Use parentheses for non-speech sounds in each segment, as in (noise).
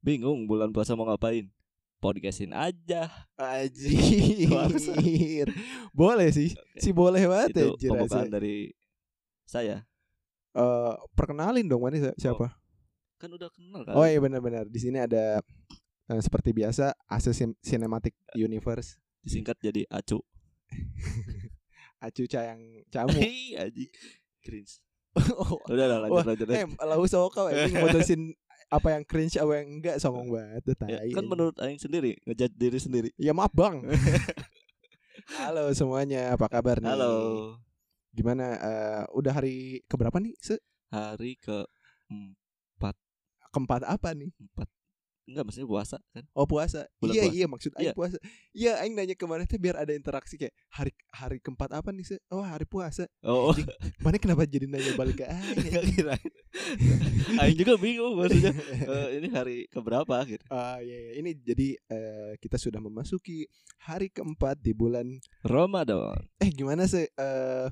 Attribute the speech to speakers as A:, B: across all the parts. A: Bingung bulan puasa mau ngapain? Podcastin aja.
B: Anjir. (laughs) boleh sih.
A: Oke.
B: Si boleh banget
A: Itu
B: anjir.
A: pembukaan
B: asli.
A: dari saya.
B: Eh, perkenalin dong mana si- siapa?
A: Kan udah kenal kan.
B: Oh, iya benar-benar. Di sini ada eh, seperti biasa AC Sim- Cinematic Universe.
A: Disingkat jadi Acu.
B: Acu Cayang
A: (laughs)
B: Camu.
A: Hei, Iya, Aji. Cringe. Udah lah lanjut
B: Wah,
A: lanjut.
B: (laughs) eh, lau soka
A: (laughs)
B: anjing mutusin apa yang cringe apa yang enggak songong banget tuh
A: Ya,
B: tai.
A: kan menurut aing sendiri, ngejudge diri sendiri.
B: Ya maaf,
A: (laughs)
B: Bang. Halo semuanya, apa kabar nih?
A: Halo.
B: iya. Gimana eh, udah hari keberapa nih? Se
A: Hari ke
B: keempat apa nih?
A: empat Enggak maksudnya puasa kan.
B: Oh puasa.
A: Bulan
B: iya
A: puasa.
B: iya maksud aing
A: Iya.
B: puasa. Iya aing nanya kemarin tuh biar ada interaksi kayak hari hari keempat apa nih? Se oh hari puasa.
A: Oh,
B: (laughs) Anjing, Mana kenapa jadi nanya balik ke
A: (laughs)
B: aing?
A: enggak kira. Aing juga bingung maksudnya eh, ini hari keberapa gitu.
B: (laughs) Ah, iya, iya. ini jadi eh, kita sudah memasuki hari keempat di bulan
A: Ramadan.
B: eh gimana sih eh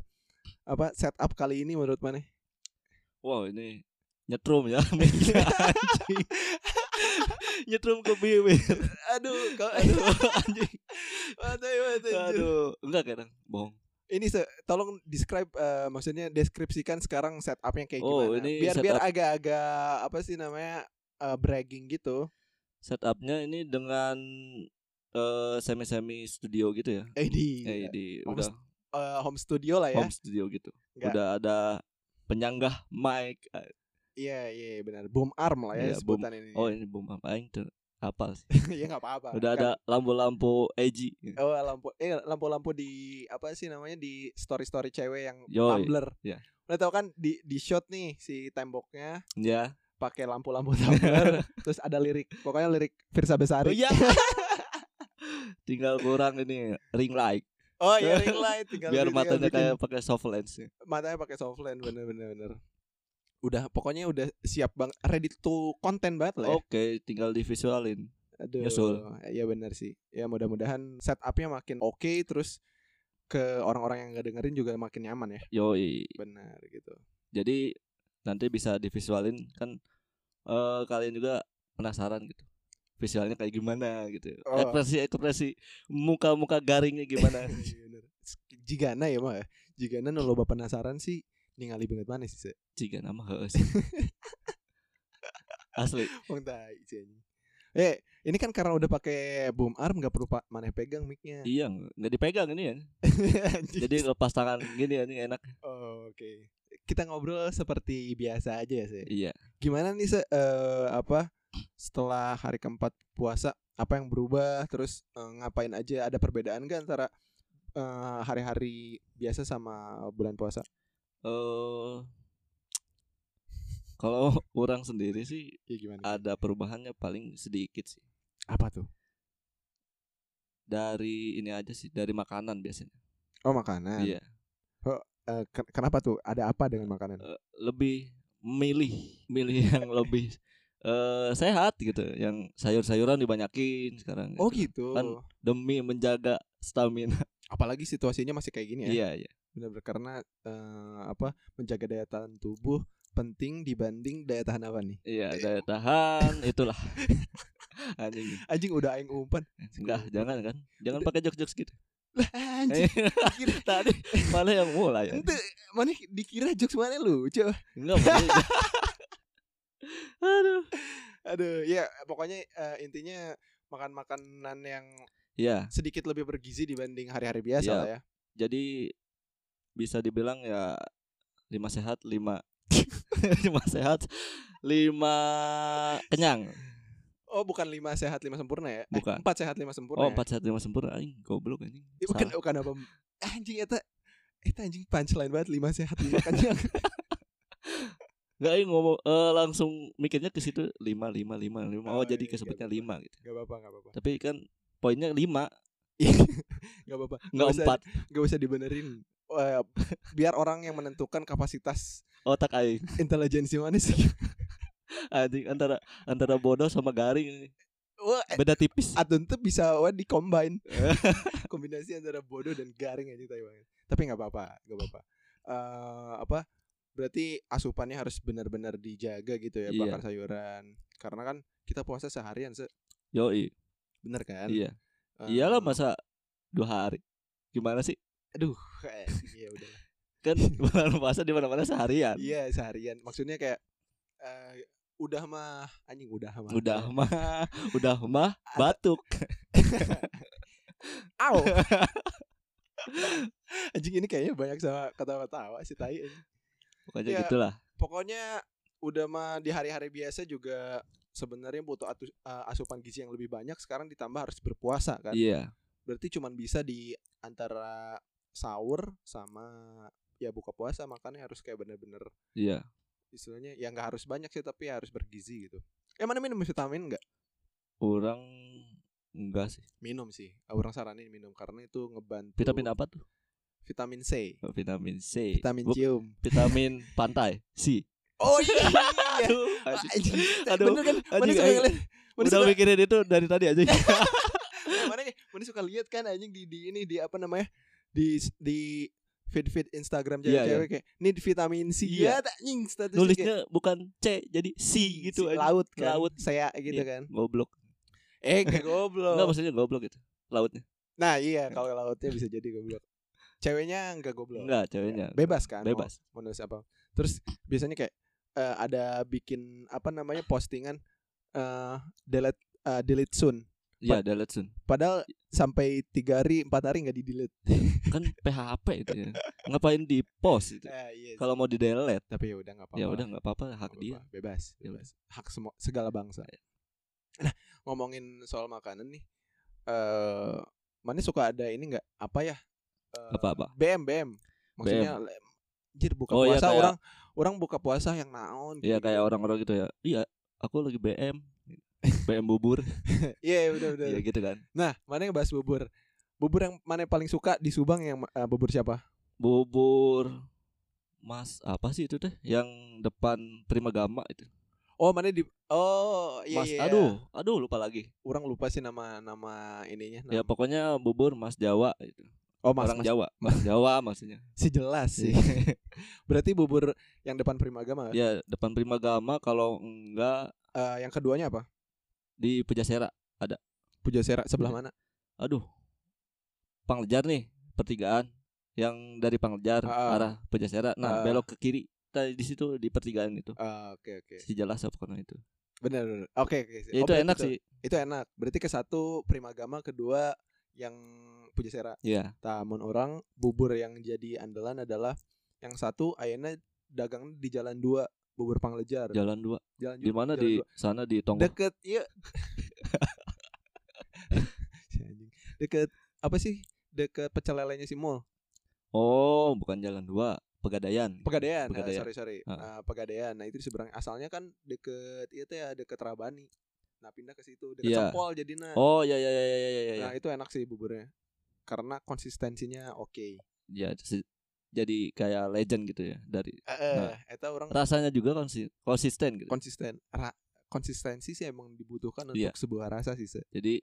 B: apa setup kali ini menurut mana?
A: Wow, ini nyetrum ya. (laughs) meja,
B: (laughs)
A: anjing. nyetrum ke bibir.
B: Aduh, kau
A: Aduh, (laughs) anjing.
B: Watai, watai, anjir.
A: Aduh, enggak kadang bohong.
B: Ini se- tolong describe eh, maksudnya deskripsikan sekarang setupnya kayak
A: Oh,
B: gimana.
A: ini
B: biar biar
A: setup-
B: agak-agak apa sih namanya eh, bragging gitu.
A: Setupnya ini dengan eh, semi-semi studio gitu ya.
B: Eh di
A: Eh di
B: Home
A: udah
B: eh, home studio lah ya.
A: home studio gitu.
B: Enggak.
A: Udah ada penyanggah mic. Eh,
B: Iya, iya benar. Boom arm lah ya
A: Iya, boom-
B: sebutan ini.
A: Oh, ini boom apa aing tuh apa sih?
B: (laughs) ya enggak apa-apa.
A: Udah ada lampu-lampu edgy.
B: Oh lampu eh lampu-lampu di apa sih namanya di story-story cewek yang
A: Yoi,
B: tumbler.
A: iya.
B: Udah tau kan di di shot nih si temboknya
A: Ya.
B: pakai
A: (laughs)
B: lampu-lampu tumbler terus ada lirik pokoknya lirik
A: Oh,
B: Firsa Besari. (laughs)
A: iya. (laughs) Tinggal kurang ini ring light
B: Oh iya ring light tinggal Iya.
A: biar
B: tinggal
A: matanya
B: bikin.
A: kayak pakai soft lens.
B: matanya pakai soft lens bener bener bener. Udah pokoknya udah siap bang ready to konten banget lah ya.
A: Oke, tinggal divisualin.
B: Aduh.
A: nyusul.
B: Iya bener sih. Ya mudah-mudahan setupnya makin oke terus ke orang-orang yang gak dengerin juga makin nyaman ya.
A: Yoi.
B: Benar
A: (laughs)
B: gitu.
A: Jadi nanti bisa divisualin kan eh kalian juga penasaran gitu. Visualnya kayak gimana gitu.
B: Oh.
A: Ekspresi ekspresi muka-muka garingnya
B: (laughs)
A: gimana.
B: Iya, bener. Jigana ya mah. ya. Jigana nu loba penasaran sih ningali banget mana sih. Se.
A: Jika nama heeh sih. Asli.
B: (laughs) Wong tai sih, anjing. Eh, ini kan karena udah pakai boom arm gak perlu pak mana pegang mic-nya.
A: Iya, nggak dipegang ini ya.
B: (laughs) Anjing. (laughs)
A: Jadi lepas tangan gini ya, ini enak.
B: Oh, oke. Kita ngobrol seperti biasa aja ya, Se.
A: Iya.
B: Gimana nih, Se? Eh, apa setelah hari keempat puasa, apa yang berubah? Terus eh, ngapain aja? Ada perbedaan gak antara eh, hari-hari biasa sama bulan puasa?
A: Eh kalau orang sendiri sih
B: Ya gimana?
A: ada perubahannya paling sedikit sih.
B: Apa tuh?
A: Dari ini aja sih, dari makanan biasanya.
B: Oh, makanan.
A: Iya.
B: Eh, ken- kenapa tuh? Ada apa dengan makanan?
A: Eh, lebih milih milih yang (laughs) lebih eh sehat gitu yang sayur-sayuran dibanyakin sekarang
B: oh, gitu.
A: Kan- demi menjaga stamina
B: Apalagi situasinya masih kayak gini ya.
A: iya iya
B: Benar-benar karena eh, apa? Menjaga daya tahan tubuh penting dibanding daya tahan apa nih?
A: iya daya tahan itulah (laughs) anjing
B: Anjing udah aing umpan.
A: enggak jangan kan jangan pakai jokes-jokes (laughs) gitu
B: Lah, anjing. Kira-
A: Iya. (laughs) tadi malah yang mulai ya.
B: Ente, mana dikira jokes mana lucu.
A: enggak maksudnya- (laughs) aduh
B: Aduh, ya pokoknya eh, intinya makan makanan yang
A: iya
B: sedikit lebih bergizi dibanding hari-hari
A: Iya.
B: biasa lah ya.
A: jadi bisa dibilang ya lima sehat lima (laughs) lima sehat lima kenyang
B: Oh, bukan lima sehat lima sempurna ya? Eh,
A: Bukan.
B: empat sehat lima sempurna.
A: oh
B: ya?
A: empat sehat lima sempurna anjing goblok anjing
B: Ya, bukan bukan apa (laughs) anjing eta eta anjing punchline banget lima sehat lima kenyang.
A: nggak anjing ngomong eh, langsung mikirnya ke situ lima lima lima lima oh,
B: Oh,
A: jadi
B: iya,
A: kesebutnya
B: nggak
A: lima gitu
B: Gak apa-apa, gak apa-apa.
A: tapi kan poinnya lima
B: (laughs) Gak Iya, apa-apa.
A: nggak
B: usah-
A: empat
B: Gak usah (laughs) dibenerin. Eh, biar orang yang menentukan kapasitas
A: otak aing
B: intelijensi manis.
A: anjing antara antara bodoh sama garing ini.
B: Wah,
A: beda tipis
B: Atun tuh bisa wah di
A: (laughs)
B: combine (laughs) kombinasi antara bodoh dan garing aja tai banget tapi nggak apa-apa nggak apa-apa Eh, apa berarti asupannya harus benar-benar dijaga gitu ya
A: Iya.
B: bakar sayuran karena kan kita puasa seharian se
A: Yoi.
B: bener kan
A: Iya.
B: Eh,
A: Iyalah masa dua hari. Gimana sih?
B: aduh kayak iya
A: (laughs)
B: udah (laughs)
A: Kan bulan puasa di mana-mana seharian.
B: iya seharian maksudnya kayak eh, udah mah anjing udah mah
A: Udah mah, udah
B: Ah,
A: mah batuk.
B: Au.
A: (laughs)
B: anjing ini kayaknya banyak sama ketawa-tawa si tai anjing.
A: Pokoknya
B: Iya.
A: gitulah.
B: pokoknya udah mah di hari-hari biasa juga sebenarnya butuh atu- eh, asupan gizi yang lebih banyak sekarang ditambah harus berpuasa kan
A: Iya.
B: berarti cuman bisa di antara sahur sama ya buka puasa makannya harus kayak bener-bener
A: Iya.
B: istilahnya ya nggak harus banyak sih tapi harus bergizi gitu emang mana minum vitamin nggak
A: Orang enggak sih.
B: minum sih orang saranin minum karena itu ngebantu
A: Vitamin apa tuh?
B: vitamin C
A: Vitamin C.
B: vitamin
A: Buk- (laughs)
B: cium
A: vitamin pantai. C.
B: oh iya
A: Aduh. anjing.
B: Anjing.
A: Aduh.
B: bener kan mana
A: anjing,
B: suka
A: anjing.
B: ngeliat mana
A: Udah
B: suka
A: mikirin itu dari tadi
B: (laughs)
A: aja.
B: mana mana suka lihat kan anjing di, di ini di apa namanya di di feed feed Instagram
A: Iya,
B: cewek-cewek kayak need vitamin C
A: Iya.
B: ya tak anjing statusnya kayak,
A: Nulisnya bukan C jadi C gitu
B: si
A: anjing.
B: laut kan
A: Laut.
B: saya gitu
A: Iya.
B: kan
A: Goblok.
B: (laughs) eh kayak
A: Enggak
B: goblok
A: maksudnya goblok gitu. Lautnya.
B: nah iya kalau lautnya bisa jadi goblok ceweknya enggak goblok
A: Enggak, ceweknya.
B: bebas kan mau-
A: Bebas.
B: mau nulis apa terus biasanya kayak eh, ada bikin apa namanya postingan eh delete eh, delete soon
A: Iya, delete soon.
B: padahal sampai tiga hari empat hari nggak di delete
A: kan PHP itu ya. ngapain di post itu
B: iya
A: kalau mau di delete
B: tapi ya udah nggak apa-apa
A: ya
B: lah.
A: udah nggak apa-apa hak
B: Nggak
A: dia
B: apa-apa, bebas,
A: Ya Iya.
B: bebas. Hak semua segala bangsa. Nah, ngomongin soal makanan nih. Eh, mana suka ada ini nggak apa ya? Eh,
A: Apa-apa?
B: BM BM. Maksudnya le- anjir buka
A: Oh, iya,
B: puasa
A: kayak-
B: orang orang buka puasa yang naon.
A: Iya
B: gitu-gitu.
A: kayak orang-orang gitu ya iya aku lagi
B: (laughs)
A: BM BM bubur
B: Iya, iya, udah udah.
A: iya
B: udah.
A: gitu kan
B: Nah, mana yang bahas bubur? Bubur yang mana paling suka di Subang yang eh, bubur siapa?
A: bubur Mas apa sih itu deh yang depan Prima Gama itu
B: Oh, mana di Oh, iya
A: Mas
B: iya.
A: aduh aduh lupa lagi
B: Orang lupa sih nama nama ininya.
A: ya
B: Nama.
A: pokoknya bubur Mas Jawa itu
B: oh, Nah. Mas,
A: orang
B: Mas.
A: Jawa Iya. Mas Jawa
B: (laughs)
A: maksudnya
B: Si jelas sih. (laughs) Berarti bubur yang depan Primagama
A: ya depan Prima Gama kalau enggak
B: Eh, yang keduanya apa?
A: di Pejasera
B: Puja Sera sebelah
A: Hmm.
B: mana?
A: aduh Panglejar nih pertigaan yang dari Panglejar
B: Ah.
A: arah Pejasera nah
B: Ah.
A: belok ke kiri tadi di situ di pertigaan itu
B: Ah, Oke oke.
A: si jelas apa karena itu
B: Benar benar. Oke oke.
A: ya,
B: Oh,
A: itu
B: berarti
A: enak sih
B: Itu enak. Berarti ke satu Primagama, kedua yang Puja Sera.
A: Iya
B: Tamun orang bubur yang jadi andalan adalah yang satu ayana dagang di jalan dua bubur panglejar.
A: jalan dua
B: Jalan
A: di
B: Ju-
A: mana
B: jalan
A: di
B: dua.
A: sana di Tonggo
B: deket iya. (laughs) Si anjing. deket apa sih? Deket pecel lelenya si mall.
A: oh bukan jalan dua Pegadaian
B: Pegadaian, ah,
A: gitu. Pegadaian
B: sorry sorry,
A: Ah.
B: Ah, Pegadaian. Nah itu di seberang. Asalnya kan deket itu ya deket Rabani. Nah pindah ke situ deket
A: Iya.
B: Cepol jadi nah.
A: oh ya ya ya ya ya ya, ya
B: Nah itu enak sih buburnya karena konsistensinya oke.
A: Ya, si- jadi kayak legend gitu ya dari
B: Heeh, Itu orang
A: rasanya juga konsi- konsisten gitu
B: konsisten. Ra- konsistensi sih emang dibutuhkan
A: Iya.
B: untuk sebuah rasa sih. Se.
A: jadi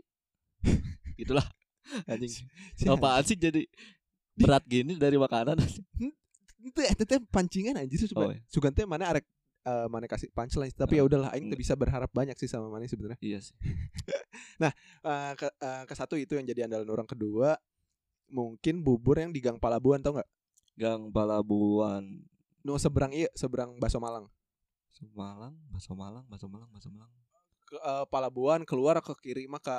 A: gitulah anjing
B: (laughs)
A: Oh,
B: Si
A: apaan sih jadi berat gini dari makanan (laughs)
B: Itu ya, teteh pancingan aja sih
A: Oh,
B: sugan. Sugan teh mana arek eh, mana kasih punchline
A: Ah,
B: tapi ya udahlah aing teu
A: enggak.
B: bisa berharap banyak sih sama mana sebenarnya.
A: iya sih
B: Eh, ke, eh, ke satu itu yang jadi andalan orang kedua mungkin bubur yang di Gang Palabuhan tau nggak?
A: Gang Palabuan
B: No seberang iya seberang Baso Malang.
A: Semalang, Baso Malang, Baso Malang, Baso Malang.
B: Ke, eh, Palabuhan keluar ke kiri mah ke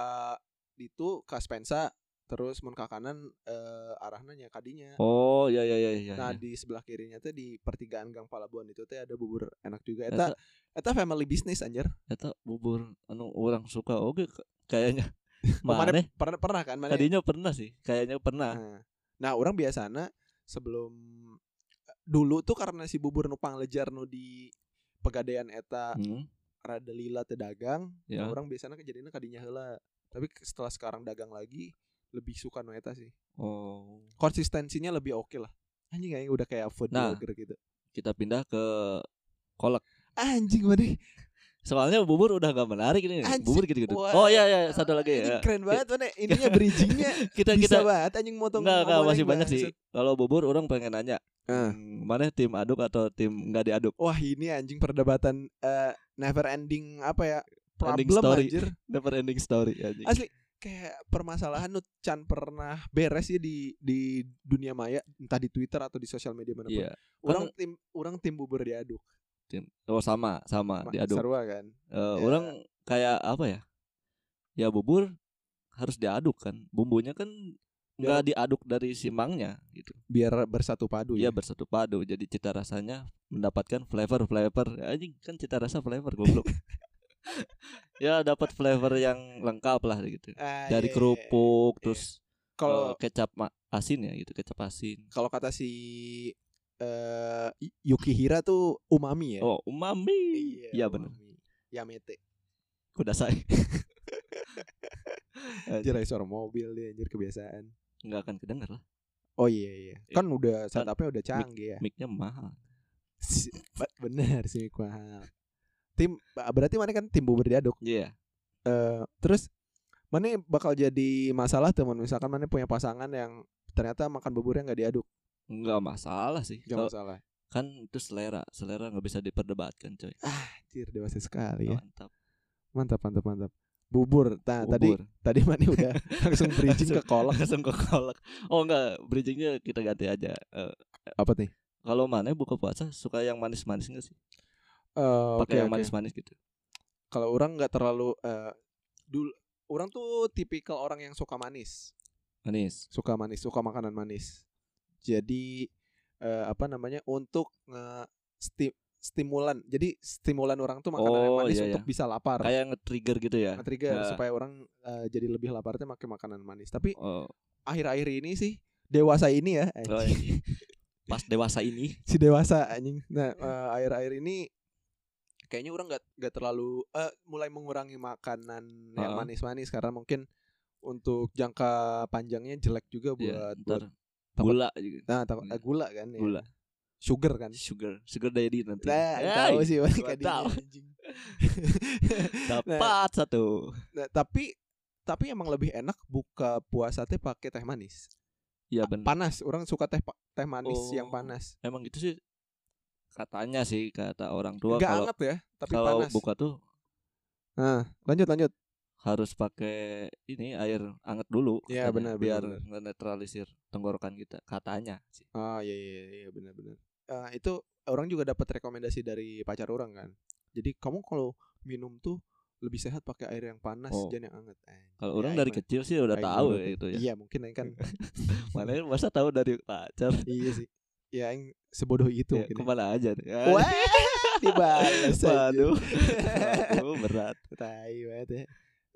B: itu ke Spensa terus mun ke kanan eh, arahnya nya kadinya.
A: Oh, ya ya ya ya.
B: Nah
A: ya.
B: di sebelah kirinya tuh di pertigaan Gang Palabuan itu tuh ada bubur enak juga.
A: Eta
B: Eta eta family business anjir.
A: eta bubur anu orang suka oke ka-
B: (laughs)
A: kayaknya.
B: Kemarin
A: Mana?
B: pernah pernah kan mana?
A: Tadinya pernah sih, kayaknya pernah.
B: Nah, nah orang biasanya sebelum eh, dulu tuh karena si bubur nupang lejar nu di pegadaian eta
A: Hmm.
B: rada lila teu dagang,
A: Ya.
B: nah, orang biasanya kejadiannya kadinya heula. Tapi ke- setelah sekarang dagang lagi lebih suka nu eta sih.
A: Oh.
B: Konsistensinya lebih oke lah. Anjing aing udah kayak food
A: Nah.
B: blogger gitu.
A: Kita pindah ke
B: Anjing mana?
A: Soalnya bubur udah gak menarik ini.
B: Anjing.
A: Bubur gitu-gitu.
B: Wah.
A: Oh iya iya, satu lagi
B: Anjing
A: ya.
B: keren banget mana ininya
A: (laughs)
B: bridgingnya
A: Kita
B: bisa
A: kita
B: banget anjing motong.
A: enggak enggak
B: omongan
A: masih
B: aing
A: banyak sih.
B: bangsat.
A: Kalau bubur orang pengen nanya.
B: Ah.
A: hmm, Mana tim aduk atau tim enggak diaduk?
B: Wah, ini anjing perdebatan eh, never ending apa ya?
A: ending
B: problem
A: story. (laughs)
B: anjir.
A: Dapat ending story anjing.
B: Asli kayak permasalahan nu can pernah beres ya di di dunia maya entah di Twitter atau di sosial media mana
A: Iya.
B: Orang tim orang tim bubur diaduk.
A: Tim- Oh sama, sama
B: Ma-
A: diaduk.
B: Sarua kan.
A: Eh, Orang kayak apa ya? Ya bubur harus diaduk kan. Bumbunya kan
B: Ya.
A: nggak diaduk dari simangnya gitu.
B: Biar bersatu padu
A: Dia
B: ya.
A: bersatu padu. Jadi cita rasanya mendapatkan flavor flavor. Anjing kan cita rasa flavor goblok.
B: (laughs)
A: ya dapat flavor yang lengkap lah gitu. Dari
B: Ah, iya, iya, iya.
A: kerupuk
B: Iya.
A: terus
B: kalau
A: eh, kecap ma- asin ya gitu, kecap asin.
B: kalau kata si eh Y- Yukihira tuh umami ya.
A: Oh, umami. Iya Eh, benar.
B: umami. Ya, Yamete.
A: Kuda
B: (laughs)
A: saya.
B: Anjir racor mobil dia anjir kebiasaan.
A: Enggak akan kedenger lah.
B: Oh iya iya. Kan udah
A: Kan
B: setupnya udah canggih ya.
A: Mic-nya mahal.
B: Si- ba- Bener sih Mik mahal. Tim ba- berarti mana kan tim bubur diaduk.
A: Iya.
B: Eh, terus mana bakal jadi masalah teman misalkan mana punya pasangan yang ternyata makan buburnya nggak diaduk.
A: Enggak masalah sih.
B: Gak
A: Kalau-
B: masalah.
A: kan itu selera. Selera nggak bisa diperdebatkan, coy.
B: Anjir dewasa sekali ya.
A: Mantap.
B: Mantap mantap mantap. Bubur. Nah, tadi
A: Bubur.
B: tadi mana udah (laughs) langsung bridging ke kolak
A: (laughs) langsung ke kolak. Oh enggak, bridgingnya kita ganti aja. Eh,
B: apa nih?
A: kalau mana buka puasa suka yang manis-manis enggak sih?
B: Eh,
A: Pakai
B: oke,
A: yang
B: oke.
A: manis-manis gitu.
B: Kalau orang nggak terlalu eh, dulu orang tuh tipikal orang yang suka manis.
A: Manis.
B: suka manis, suka makanan manis. Jadi eh, apa namanya untuk nge sti- stimulan. Jadi stimulan orang tuh makanan yang
A: Oh,
B: manis
A: iya, iya.
B: untuk bisa lapar.
A: Kayak nge-trigger gitu ya.
B: Nge-trigger
A: Nah.
B: supaya orang eh, jadi lebih laparnya pakai makanan manis. Tapi
A: Oh,
B: akhir-akhir ini sih dewasa ini ya,
A: oh,
B: anjing. (laughs)
A: iya. Pas dewasa ini
B: si dewasa anjing.
A: Iya.
B: Nah, eh, akhir-akhir ini kayaknya orang nggak nggak terlalu eh, mulai mengurangi makanan yang
A: Heeh.
B: manis-manis karena mungkin untuk jangka panjangnya jelek juga
A: ya,
B: buat buat
A: ntar gula juga.
B: nah takut
A: Hmm.
B: eh, gula kan ya.
A: Gula. Iya.
B: sugar kan
A: Sugar, sugar daddy nanti.
B: Nah,
A: Hey,
B: tahu sih mereka
A: gua
B: dirinya,
A: tahu.
B: anjing.
A: (laughs) Dapat satu.
B: Nah, tapi tapi emang lebih enak buka puasa teh pakai teh manis.
A: Iya benar.
B: Panas, orang suka teh pa- teh manis
A: Oh.
B: yang panas.
A: Emang gitu sih katanya sih kata orang tua
B: Enggak
A: kalau
B: anget ya, tapi
A: kalau
B: panas.
A: buka tuh
B: Nah, lanjut lanjut.
A: harus pakai ini air anget dulu.
B: Iya,
A: katanya,
B: benar, benar,
A: Biar
B: benar.
A: menetralisir tenggorokan kita katanya sih.
B: Ah, iya iya iya benar-benar. Eh, itu orang juga dapat rekomendasi dari pacar orang kan. Jadi kamu kalau minum tuh lebih sehat pakai air yang panas
A: Oh.
B: jangan yang anget. Eh,
A: Kalau
B: ya,
A: orang
B: aing
A: dari
B: mah-
A: kecil sih udah
B: aing
A: tahu
B: nurut.
A: ya itu ya.
B: Iya, mungkin aing
A: (laughs)
B: kan. (laughs)
A: Mana masa tahu dari pacar.
B: iya sih. Ya aing sebodoh itu
A: Ya,
B: mungkin.
A: kemana aja nih. Ah, (laughs)
B: Wah, dibales
A: Waduh.
B: Waduh.
A: Waduh, berat.
B: (laughs) Tai banget ya.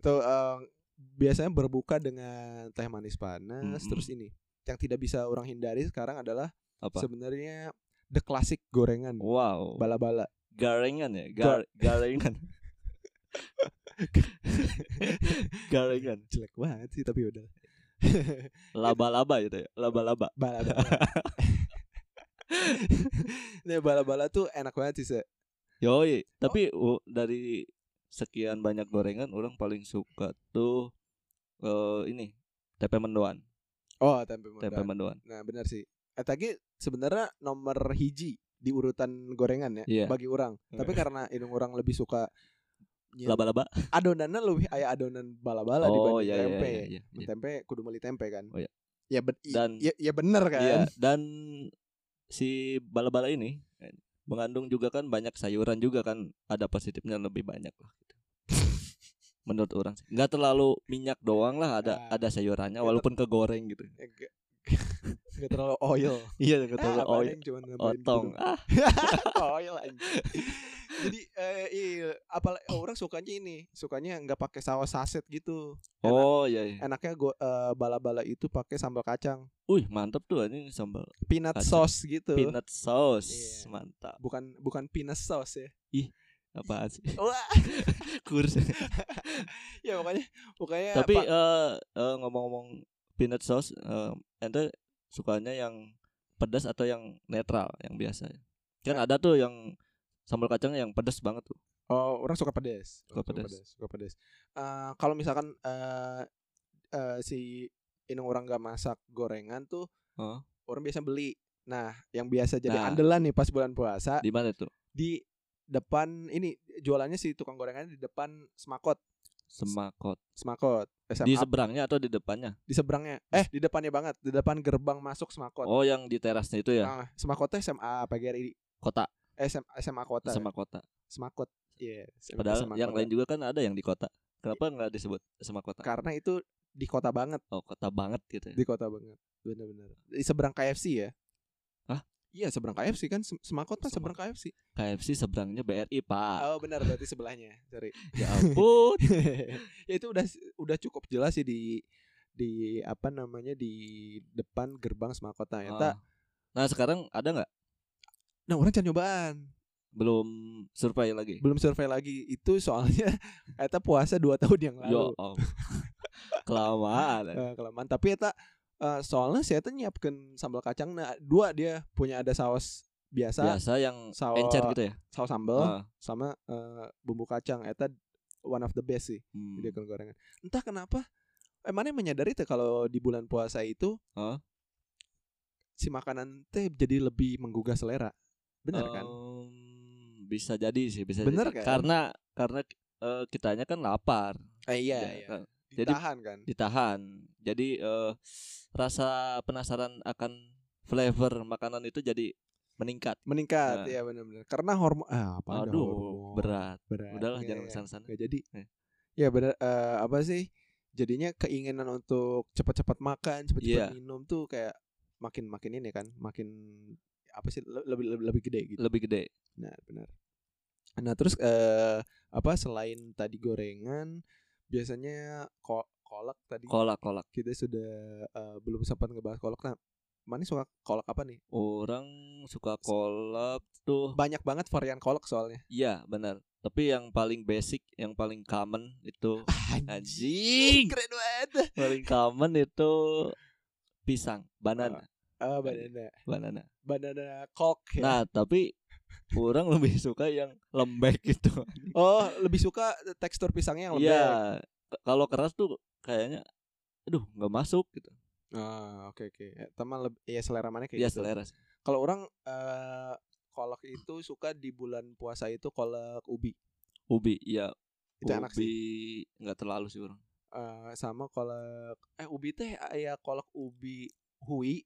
B: Itu eh, biasanya berbuka dengan teh manis panas
A: Mm-mm.
B: terus ini. Yang tidak bisa orang hindari sekarang adalah (laughs)
A: Apa? Oh.
B: sebenarnya the classic gorengan.
A: Wow.
B: Bala-bala.
A: Garengan ya, Gar garengan. garengan.
B: Jelek banget sih tapi udah. (laughs)
A: Laba-laba gitu ya, laba-laba.
B: Bala-bala.
A: (laughs)
B: nah, bala-bala tuh enak banget sih, Se.
A: Yoi, tapi u- dari sekian banyak gorengan orang paling suka tuh eh ini tempe mendoan,
B: Oh, tempe
A: tempe
B: mendoan.
A: mendoan.
B: Nah, benar sih. Eh, tadi sebenarnya nomor hiji di urutan gorengan ya
A: Iya.
B: bagi orang. Tapi karena ini orang lebih suka nyen-
A: Laba-laba.
B: adonannya lebih aya adonan bala-bala
A: Oh iya
B: dibanding
A: iya
B: tempe.
A: iya. iya, iya.
B: Tempe kudu meuli tempe kan.
A: Oh, iya.
B: Ya ben- i-
A: Dan-
B: ya, ya bener kan. (laughs)
A: Iya, dan si bala-bala ini eh, mengandung juga kan banyak sayuran juga kan ada positifnya lebih banyak lah gitu. (laughs) Menurut orang sih. Nggak terlalu minyak doang lah ada
B: Ah.
A: ada sayurannya
B: Nggak ter-
A: walaupun kegoreng
B: (laughs)
A: gitu.
B: Ya, ge- Gak terlalu oil.
A: Iya, nggak
B: Ah,
A: terlalu
B: apaan
A: oil.
B: yang cuman nambahin
A: Otong. Ah,
B: kudu- oil anjing. Jadi eh iya, apalagi orang sukanya ini, sukanya nggak pakai saus saset gitu. Enak-
A: oh iya iya.
B: Enaknya go- eh, bala-bala itu pakai sambal kacang,
A: Uih, mantap tuh ini sambal
B: peanut
A: Kacang.
B: sauce gitu.
A: peanut sauce.
B: Iya.
A: Mantap.
B: Bukan bukan peanut
A: (laughs)
B: sauce ya.
A: Apaan sih? (laughs)
B: Wah,
A: Kurs.
B: ya pokoknya pokoknya
A: Tapi
B: Pak,
A: eh, eh, ngomong-ngomong peanut sauce, eh, ente sukanya yang pedas atau yang netral, yang biasa? Kan ada tuh yang sambal kacang yang pedas banget tuh.
B: Oh, orang suka pedes.
A: Suka
B: Orang
A: pedes.
B: Suka pedes. Eh, kalau misalkan eh eh, si inung orang gak masak gorengan tuh,
A: Heeh.
B: orang biasa beli. Nah, yang biasa jadi
A: Nah.
B: andalan nih pas bulan puasa
A: Di mana tuh?
B: di depan ini jualannya si tukang gorengannya di depan Semakot.
A: Semakot.
B: Semakot. SMA
A: Di seberangnya atau di depannya?
B: di seberangnya. Eh, di depannya banget, di depan gerbang masuk Semakot.
A: Oh, yang di terasnya itu ya?
B: Ah, Semakotnya SMA PGRI.
A: Kota,
B: Eh, SMA, SMA Kota.
A: sama kota.
B: Semakot. Iya, SMA
A: Padahal yang
B: Kota.
A: lain juga kan ada yang di kota. Kenapa
B: Iya.
A: nggak disebut sama kota?
B: Karena itu di kota banget,
A: Oh, kota banget gitu. ya.
B: di kota banget. Benar-benar. Di seberang KFC ya?
A: Hah?
B: Iya, seberang KFC kan Sem- Semakot kan seberang KFC.
A: KFC seberangnya BRI, Pak.
B: Oh, benar berarti sebelahnya. Sorry.
A: Ya
B: (laughs)
A: ampun.
B: ya itu udah udah cukup jelas sih di di apa namanya di depan gerbang Semakota ya.
A: Ah. Nah, sekarang ada nggak?
B: Nah, orang jangan nyobaan.
A: Belum survei lagi.
B: Belum survei lagi. Itu soalnya (laughs) eta puasa 2 (laughs) tahun yang
A: Yo,
B: lalu.
A: oh. (laughs) kelamaan.
B: Eh, kelamaan. Tapi eta eh, soalnya saya tuh nyiapkan sambal kacang nah dua dia punya ada saus biasa,
A: Biasa yang
B: sawo-
A: encer gitu ya.
B: saus sambal
A: Ah,
B: sama eh, bumbu kacang eta one of the best sih
A: hmm.
B: di akun gorengan. Entah kenapa emangnya menyadari tuh kalau di bulan puasa itu
A: Hah?
B: si makanan teh jadi lebih menggugah selera. Bener kan?
A: Em, bisa jadi sih, bisa
B: Bener
A: jadi.
B: kan?
A: Karena karena eh, kitanya kan lapar.
B: Eh, iya,
A: Ya,
B: iya.
A: kan? jadi-
B: Ditahan kan?
A: Ditahan. Jadi eh, rasa penasaran akan flavor makanan itu jadi meningkat.
B: Meningkat,
A: Nah.
B: ya benar-benar. Karena hormon ah, apa ada
A: Aduh,
B: hormon?
A: berat.
B: Berat.
A: Udahlah
B: Iya,
A: jangan
B: iya.
A: kesana-sana.
B: Nggak jadi.
A: Iya.
B: Ya benar eh, apa sih? Jadinya keinginan untuk cepat-cepat makan,
A: Iya.
B: cepat-cepat minum tuh kayak makin makin ini kan, makin apa sih le- lebih lebih, lebih gede gitu.
A: Lebih gede.
B: Nah, benar. Nah, terus eh apa selain tadi gorengan, biasanya ko- kolak tadi
A: Kolak-kolak.
B: kita sudah eh, belum sempat ngebahas kolak. Nah, Mani suka kolak apa nih?
A: Orang suka kolak tuh.
B: Banyak banget varian kolak soalnya.
A: Iya, benar. Tapi yang paling basic, yang paling common itu Anjing.
B: keren banget.
A: (laughs) paling common itu pisang, banana,
B: Ah, banana,
A: banana.
B: banana kolak ya.
A: Nah, tapi orang lebih suka yang lembek gitu.
B: Oh, lebih suka tekstur pisangnya (laughs) yang lembek.
A: Iya. K- Kalau keras tuh kayaknya aduh, nggak masuk gitu.
B: Ah, oke oke. Eh, Teman lebih ya selera mana kayak
A: Iya,
B: gitu.
A: selera. sih.
B: Kalau orang eh kolak itu suka di bulan puasa itu kolak ubi.
A: Ubi, iya.
B: Itu
A: ubi
B: enak sih.
A: nggak terlalu sih orang.
B: Eh, sama kolak eh ubi teh ya kolak ubi hui.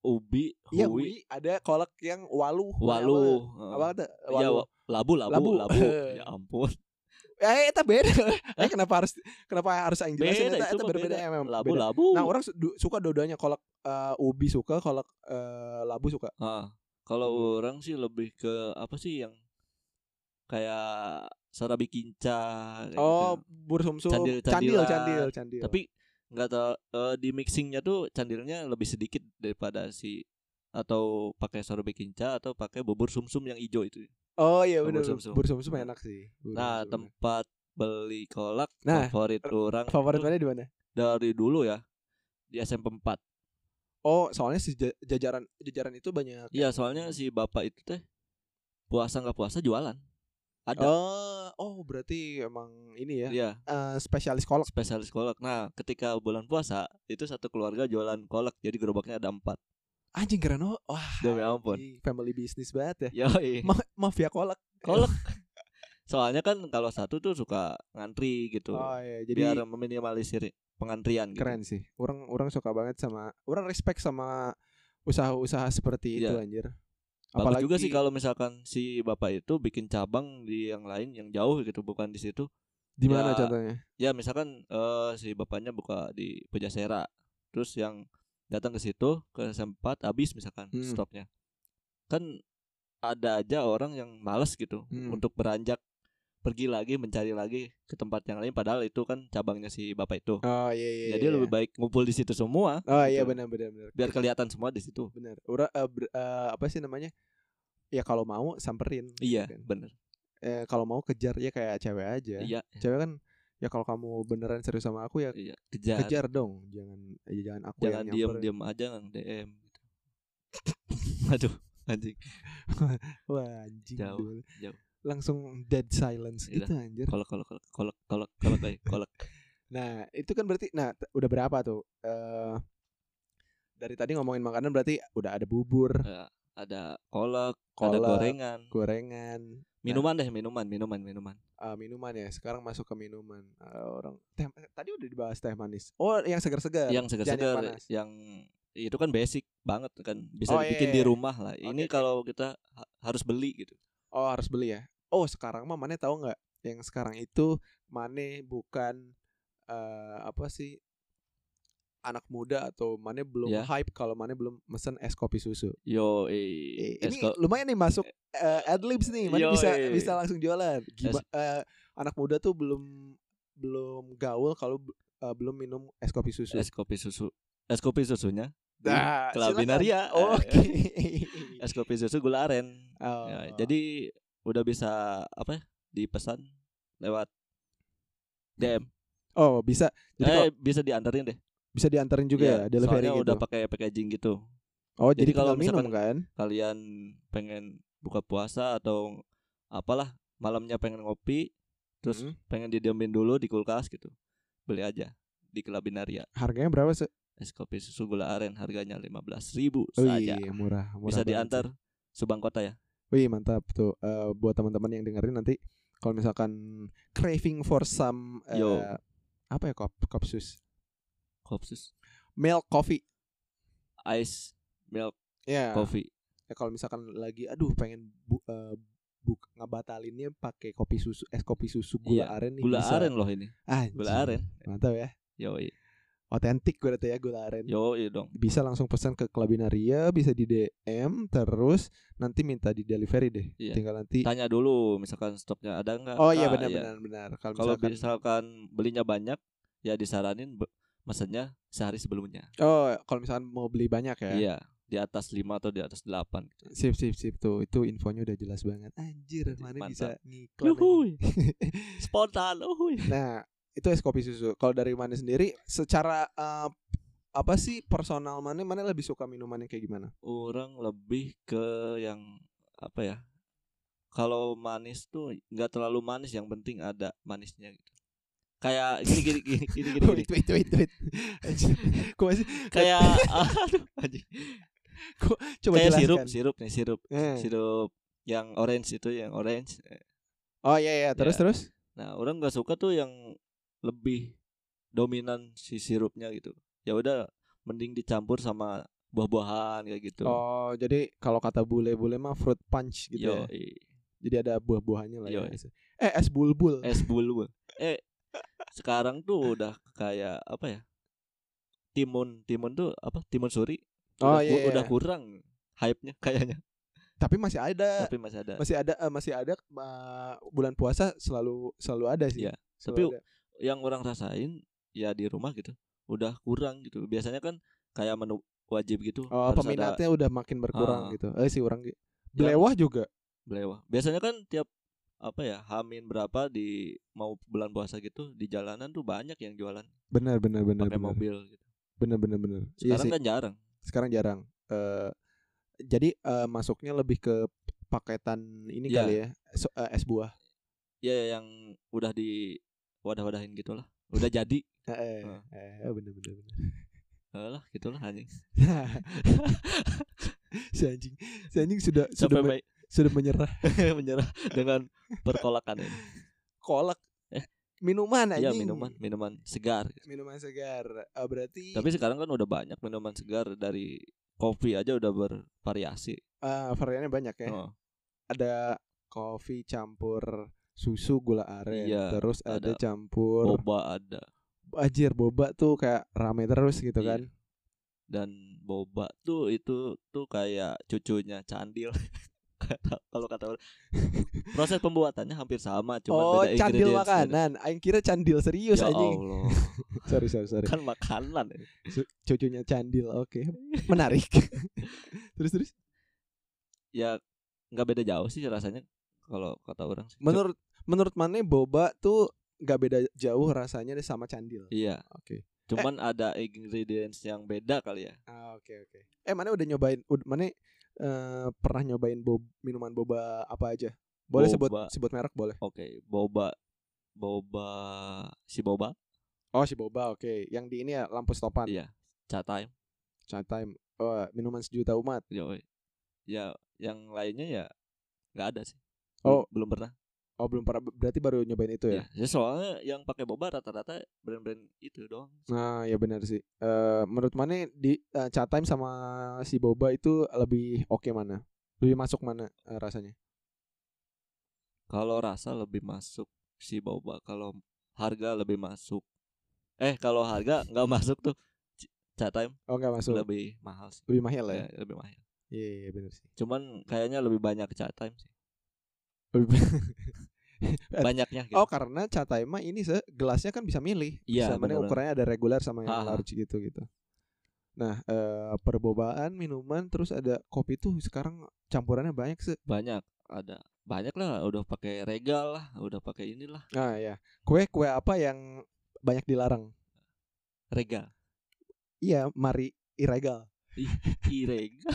A: Ubi,
B: Iya,
A: hui,
B: hui ada kolak yang walu.
A: walu.
B: Apa,
A: heeh.
B: apa tuh?
A: Iya,
B: Walu.
A: wa- labu, labu,
B: Labu.
A: labu.
B: (laughs) Eh.
A: ya ampun.
B: Eh, itu beda. Eh, kenapa harus kenapa harus aing jelasin?
A: Beda
B: Eta-
A: itu
B: eta
A: mah
B: berbeda
A: beda.
B: Ya, memang
A: Labu,
B: beda.
A: labu.
B: Nah, orang su- du- suka dua-duanya kolak eh, ubi suka, kolak eh, labu suka.
A: Heeh. kalau
B: Hmm.
A: orang sih lebih ke apa sih yang kayak sarabi kinca kayak
B: Oh, iya.
A: gitu.
B: bur sumsum.
A: Candil-
B: candil,
A: candilan.
B: candil, candil.
A: tapi nggak tahu eh, di mixingnya tuh candilnya lebih sedikit daripada si atau pakai sarabi kinca atau pakai bubur sumsum yang hijau itu.
B: Oh iya
A: Bubur
B: benar.
A: sumsum.
B: Bubur sumsum enak sih. Bubur
A: Nah,
B: sumsum enak.
A: tempat beli kolak
B: Nah,
A: favorit orang
B: favorit
A: tuh
B: mana di mana?
A: dari dulu ya di SMP 4.
B: Oh, soalnya si ja- jajaran jajaran itu banyak. ya?
A: Iya,
B: Hmm.
A: soalnya si bapak itu teh puasa nggak puasa jualan. Ada.
B: Oh, oh berarti emang ini ya.
A: Iya,
B: eh, spesialis kolak.
A: spesialis kolak. Nah, ketika bulan puasa itu satu keluarga jualan kolak, jadi gerobaknya ada
B: (laughs)
A: empat.
B: Anjing keren oh. Wah,
A: Demi ampun. Iya.
B: anjing, family business banget ya.
A: Yoi.
B: Ma- mafia kolak.
A: Kolak. (laughs) Soalnya kan kalau satu tuh suka ngantri gitu.
B: Oh iya, jadi
A: Biar meminimalisir pengantrian gitu.
B: keren sih. Orang orang suka banget sama orang respect sama usaha-usaha seperti itu
A: Iya.
B: anjir.
A: Bagus juga sih kalau misalkan si bapak itu bikin cabang di yang lain yang jauh gitu, bukan di situ.
B: di mana
A: ya,
B: contohnya?
A: Ya, misalkan eh, si bapaknya buka di Pujasera. Terus yang datang ke situ ke sempat habis misalkan
B: Hmm.
A: stopnya. Kan ada aja orang yang males gitu
B: Hmm.
A: untuk beranjak pergi lagi mencari lagi ke tempat yang lain padahal itu kan cabangnya si bapak itu.
B: Oh iya iya.
A: Jadi
B: iya.
A: lebih baik ngumpul di situ semua
B: Oh iya
A: gitu.
B: benar benar benar.
A: biar kelihatan semua di situ.
B: benar. Ura eh, ber- eh, apa sih namanya? Ya kalau mau samperin.
A: Iya,
B: Gitu kan.
A: bener
B: Eh, kalau mau kejar ya kayak cewek aja.
A: Iya,
B: Cewek kan ya kalau kamu beneran serius sama aku ya
A: iya. Kejar.
B: kejar dong. Jangan ya jangan aku
A: Jangan
B: yang nyamperin.
A: diam-diam aja ngang DM. Aduh, anjing.
B: Wah, anjing.
A: Jauh,
B: dulu.
A: jauh.
B: Langsung dead silence
A: Iya.
B: gitu anjir.
A: Kolak kolak kolak kolak kolak kolak eh, kolak.
B: Nah, itu kan berarti nah t- udah berapa tuh? Eh dari tadi ngomongin makanan berarti udah ada bubur,
A: Eh, ada kolak, ada
B: Kolak.
A: gorengan,
B: gorengan
A: minuman deh, minuman, minuman, minuman.
B: eh, minuman ya sekarang masuk ke minuman Eh, orang teh tadi udah dibahas teh manis oh yang segar-segar
A: yang segar-segar
B: jangan yang panas.
A: yang itu kan basic banget kan bisa
B: Oh, iya,
A: dibikin
B: iya,
A: di
B: iya.
A: rumah lah
B: Oke,
A: ini
B: oke.
A: kalau kita ha- harus beli gitu
B: oh harus beli ya oh sekarang mah mana tahu nggak yang sekarang itu Mane bukan eh, apa sih anak muda atau Mane belum
A: Ya.
B: hype kalau Mane belum mesen es kopi susu
A: yo eh,
B: Eh, ini
A: esko-
B: lumayan nih masuk eh, adlibs nih Mane
A: Yo,
B: bisa
A: eh.
B: bisa langsung jualan Giba-
A: Es-
B: eh, anak muda tuh belum belum gaul kalau eh, belum minum es kopi susu
A: es kopi susu es kopi susunya
B: Nah,
A: Kelabinaria.
B: (laughs) silakan. Oke.
A: Eh, es kopi susu gula aren
B: Oh.
A: Ya, jadi udah bisa apa ya dipesan lewat DM
B: oh bisa. Jadi kalau
A: eh, bisa diantarin deh
B: bisa diantarin juga
A: Iya,
B: ya delivery
A: soalnya
B: gitu.
A: udah pakai packaging gitu
B: oh
A: jadi
B: jadi,
A: kalau
B: kalau minum
A: misalkan-
B: kan?
A: kalian pengen buka puasa atau apalah malamnya pengen ngopi terus
B: Hmm.
A: pengen didiamin dulu di kulkas gitu beli aja di Kelabinaria
B: Harganya berapa sih?
A: es kopi susu gula aren harganya 15.000 ribu saja
B: Wih murah, murah.
A: bisa
B: banget.
A: diantar Subang Kota ya
B: Wih mantap tuh. Eh, buat teman-teman yang dengerin nanti kalau misalkan craving for some eh,
A: Yo.
B: apa ya kop kopsus
A: Kopsus
B: milk coffee.
A: Ice Milk
B: Ya.
A: Coffee
B: Ya, kalau misalkan lagi aduh pengen bu, eh, bu- ngebatalinnya pakai kopi susu es kopi susu
A: Iya,
B: gula aren nih
A: gula
B: bisa.
A: aren loh ini
B: Ah,
A: gula aren
B: Mantap ya.
A: yoi
B: otentik gue tuh ya gula aren
A: yoi dong
B: bisa langsung pesan ke Kelabinaria bisa di DM terus nanti minta di delivery deh
A: Iya.
B: tinggal nanti
A: tanya dulu misalkan stoknya ada nggak
B: oh iya
A: Ah,
B: benar benar benar kalau
A: kalau
B: misalkan
A: misalkan belinya banyak ya disaranin be- mesennya sehari sebelumnya
B: oh kalau misalkan mau beli banyak ya
A: Iya, di atas 5 atau di atas gitu 8.
B: sip sip sip tuh itu infonya udah jelas banget anjir
A: Jadi
B: mana
A: mantap.
B: bisa ngiklan lagi.
A: Yuhuy.
B: (laughs)
A: Spontan. Uhuy.
B: nah itu es kopi susu kalau dari mana sendiri secara eh, apa sih personal mana mana lebih suka minuman yang kayak gimana
A: Orang lebih ke yang apa ya? Kalau manis tuh nggak terlalu manis, yang penting ada manisnya gitu. Kayak gini gini gini gini gini. gini.
B: wait (laughs) wait wait wait
A: (laughs)
B: Anjir, gua masih
A: Kayak (laughs) aduh anjing.
B: coba
A: Kayak
B: jelaskan
A: sirup, sirup nih, sirup.
B: Eh.
A: Sirup yang orange itu yang orange.
B: oh iya iya terus
A: Ya.
B: terus
A: Nah, orang nggak suka tuh yang lebih dominan si sirupnya gitu. Ya udah mending dicampur sama buah-buahan kayak gitu.
B: Oh, jadi kalau kata bule-bule mah fruit punch gitu ya.
A: Yoi.
B: Jadi ada buah-buahnya lah ya.
A: Yoi.
B: Eh, (laughs) es bulbul.
A: es bulu eh sekarang tuh udah kayak apa ya timun timun tuh apa timun suri udah,
B: Oh,
A: ku-
B: iya, iya.
A: udah kurang hype nya kayaknya
B: Tapi masih ada.
A: tapi masih ada
B: Masih ada eh, masih ada eh, bulan puasa selalu selalu ada sih.
A: Iya,
B: Selalu
A: tapi-
B: ada.
A: yang orang rasain ya di rumah gitu udah kurang gitu biasanya kan kayak menu wajib gitu
B: oh,
A: harus ada
B: peminatnya udah makin
A: Ah.
B: berkurang gitu. Eh si orang ge- Belewah juga.
A: belewah biasanya kan tiap apa ya hamin berapa di mau bulan puasa gitu di jalanan tuh banyak yang jualan
B: Benar benar benar
A: pakai
B: benar.
A: mobil gitu.
B: Benar benar benar. Iya
A: sekarang
B: sih.
A: kan jarang
B: Sekarang jarang. Eh jadi eh, masuknya lebih ke paketan ini
A: Iya.
B: kali ya. So- eh, es buah.
A: ya yang udah di wadah-wadahin gitulah
B: (laughs)
A: udah jadi
B: Eh, eh,
A: Ah.
B: eh, benar benar benar.
A: lah gitulah anjing
B: (laughs) si anjing, si anjing sudah sudah
A: sampai
B: men-
A: baik
B: sudah menyerah
A: (laughs) menyerah dengan perkolakan ini
B: kolak
A: Eh.
B: minuman
A: ya
B: anjing
A: minuman minuman segar
B: minuman segar Ah, berarti
A: tapi sekarang kan udah banyak minuman segar dari kopi aja udah bervariasi
B: ah, variannya banyak ya
A: Oh,
B: ada kopi campur susu gula aren
A: Iya,
B: terus ada,
A: ada
B: campur
A: boba ada
B: anjir boba tuh kayak rame terus gitu
A: Iya.
B: kan
A: dan boba tuh itu tuh kayak cucunya candil (laughs) Kata- kalau kata orang. proses pembuatannya hampir sama cuman
B: oh
A: beda
B: candil
A: ingredients-nya.
B: makanan aing kira candil serius
A: ya
B: anjing (laughs)
A: Allah
B: sorry sorry sorry
A: kan makanan ya.
B: Su- cucunya candil oke
A: (laughs)
B: menarik (laughs) terus terus
A: ya nggak beda jauh sih rasanya kalau kata orang sih.
B: menurut menurut mana boba tuh nggak beda jauh rasanya deh sama candil oke
A: iya cuman ada ingredients yang beda kali ya
B: Ah, oke oke. Eh mana udah nyobain? Ud, mana eh, pernah nyobain bob, minuman boba apa aja? Boleh sebut
A: Boba.
B: sebut merek boleh.
A: oke boba boba si boba
B: Oh si boba oke. Yang di ini ya lampu stopan.
A: Iya. chat time
B: Chat time. Oh, minuman sejuta umat.
A: Yoi. ya yang lainnya ya nggak ada sih
B: Oh.
A: belum pernah
B: Oh belum pernah berarti baru nyobain itu ya?
A: ya. ya soalnya yang pakai boba rata-rata brand-brand itu doang
B: Nah ya benar sih. Eh menurut mana di eh, chat time sama si Boba itu lebih oke mana? Lebih masuk mana eh, rasanya?
A: kalau rasa lebih masuk si boba kalau harga lebih masuk eh kalau harga nggak (laughs) masuk tuh C- chat time
B: Oh nggak masuk.
A: lebih
B: Lebih,
A: mahal sih
B: mahal lah ya?
A: Ya, lebih mahal
B: Iya iya benar sih.
A: cuman kayaknya lebih banyak chat time sih
B: Lebih-
A: banyaknya gitu.
B: Oh karena chat time mah ini se gelasnya kan bisa milih.
A: Iya,
B: Bisa mana
A: benar-benar.
B: ukurannya ada reguler sama
A: Ah.
B: yang large gitu gitu. Nah eh perbobaan minuman terus ada kopi tuh sekarang campurannya banyak sih.
A: banyak ada banyak lah udah pakai regal lah udah pakai inilah
B: Nah ya kue kue apa yang banyak dilarang?
A: regal
B: Iya mari iregal. (laughs)
A: iregal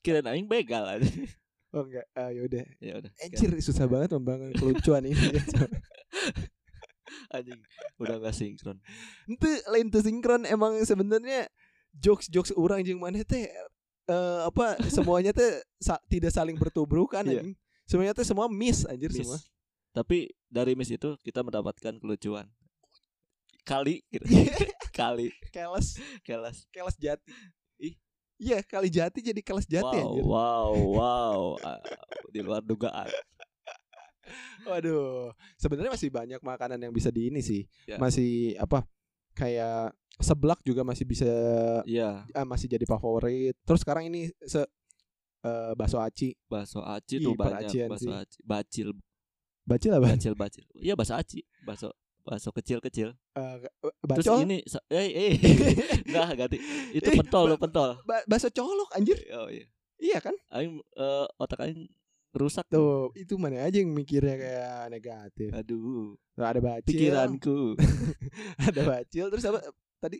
A: kirain aing begal aja (laughs)
B: Oh enggak, ah, yaudah
A: ya udah
B: Anjir susah banget membangun kelucuan ini ya.
A: (laughs) anjing udah nggak sinkron
B: Itu lain tuh sinkron emang sebenarnya jokes-jokes orang jeung maneh teh eh,
A: (laughs)
B: apa semuanya teh sa- tidak saling bertubrukan
A: Iya.
B: anjing. Semuanya teh semua miss anjir
A: miss
B: semua.
A: tapi dari miss itu kita mendapatkan kelucuan kali gitu.
B: (laughs)
A: kali
B: Keles,
A: kelas
B: keles jati.
A: Ih.
B: Iya, kali jati jadi keles jati
A: wow
B: anjir.
A: wow wow Ah, di luar dugaan
B: Waduh. Sebenarnya masih banyak makanan yang bisa di ini sih.
A: Ya.
B: Masih apa? Kayak seblak juga masih bisa
A: iya
B: ah, masih jadi favorit. Terus sekarang ini se eh, bakso aci.
A: bakso aci
B: Ih,
A: tuh banyak
B: peracian
A: bakso
B: sih.
A: aci bacil
B: Baca lah, Bang.
A: bacil bacil iya bakso aci bakso bakso kecil kecil
B: Eh,
A: terus
B: bacol.
A: ini sa-
B: (laughs)
A: eh eh enggak ganti itu
B: Eh,
A: pentol lo
B: ba-
A: pentol
B: Ba- bakso colok anjir.
A: oh iya
B: Iya kan?
A: aing eh, otak aing rusak
B: Tuh, itu mana aja yang mikirnya kayak negatif.
A: aduh
B: Tuh, ada bacil,
A: pikiranku
B: (laughs) ada bacil, terus apa tadi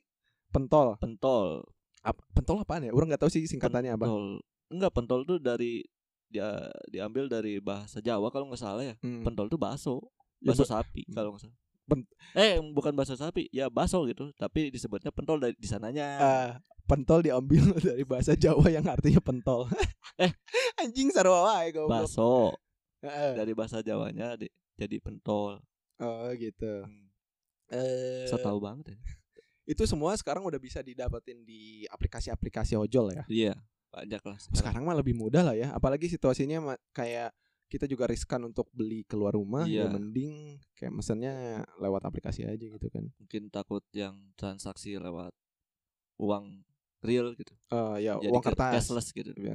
B: pentol.
A: pentol
B: Ap- pentol apaan ya? Orang nggak tahu sih singkatannya apa.
A: pentol enggak pentol tuh dari dia diambil dari bahasa Jawa kalau nggak salah ya
B: Hmm.
A: pentol tuh baso
B: Ya,
A: baso
B: ba-
A: sapi
B: Hmm.
A: kalau nggak salah
B: Pen-
A: eh bukan baso sapi ya baso gitu tapi disebutnya pentol dari di sananya
B: Ah, pentol diambil (laughs) dari bahasa Jawa yang artinya pentol. (laughs)
A: Eh.
B: anjing sarwa wae goblok.
A: baso
B: Heeh.
A: dari bahasa Jawanya di- jadi pentol
B: Oh, gitu.
A: Hmm.
B: Eh,
A: so tahu banget ya
B: itu semua sekarang udah bisa didapatin di aplikasi-aplikasi ojol ya.
A: iya banyak lah sekarang.
B: sekarang mah lebih mudah lah ya apalagi situasinya ma- kayak kita juga riskan untuk beli keluar rumah
A: Iya.
B: ya mending kayak mesennya lewat aplikasi aja gitu kan
A: mungkin takut yang transaksi lewat uang real gitu
B: Eh ya
A: jadi
B: uang iya.
A: ke-
B: kertas
A: cashless gitu
B: Ya,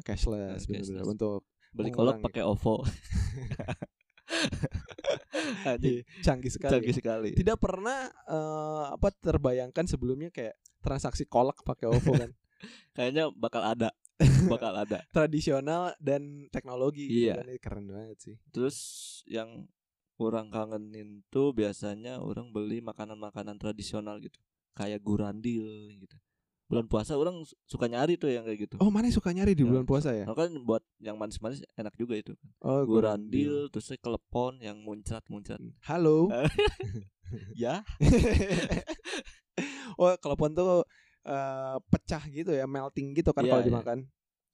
A: Nah,
B: cashless bener-bener.
A: cashless.
B: untuk
A: beli
B: Mengurangi.
A: kolak pakai
B: (laughs)
A: OVO Anjing,
B: Ih, (laughs) canggih Iya, sekali
A: canggih sekali
B: tidak pernah eh, apa terbayangkan sebelumnya kayak transaksi kolak pakai OVO
A: (laughs)
B: kan
A: kayaknya bakal
B: (laughs)
A: ada bakal ada
B: tradisional dan teknologi gitu
A: Iya.
B: kan. Ini keren banget sih
A: terus yang orang kangenin tuh biasanya orang beli makanan-makanan tradisional gitu kayak gurandil gitu bulan puasa orang su- suka nyari tuh yang kayak gitu
B: oh mana suka nyari di
A: Ya.
B: bulan puasa ya
A: Nah, kan buat yang manis-manis enak juga itu
B: oh
A: gurandil terus kelepon yang
B: (laughs)
A: muncrat-muncrat
B: halo
A: ya
B: (laughs) oh kelepon tuh eh, pecah gitu ya melting gitu kan
A: Iya,
B: kalau
A: iya.
B: dimakan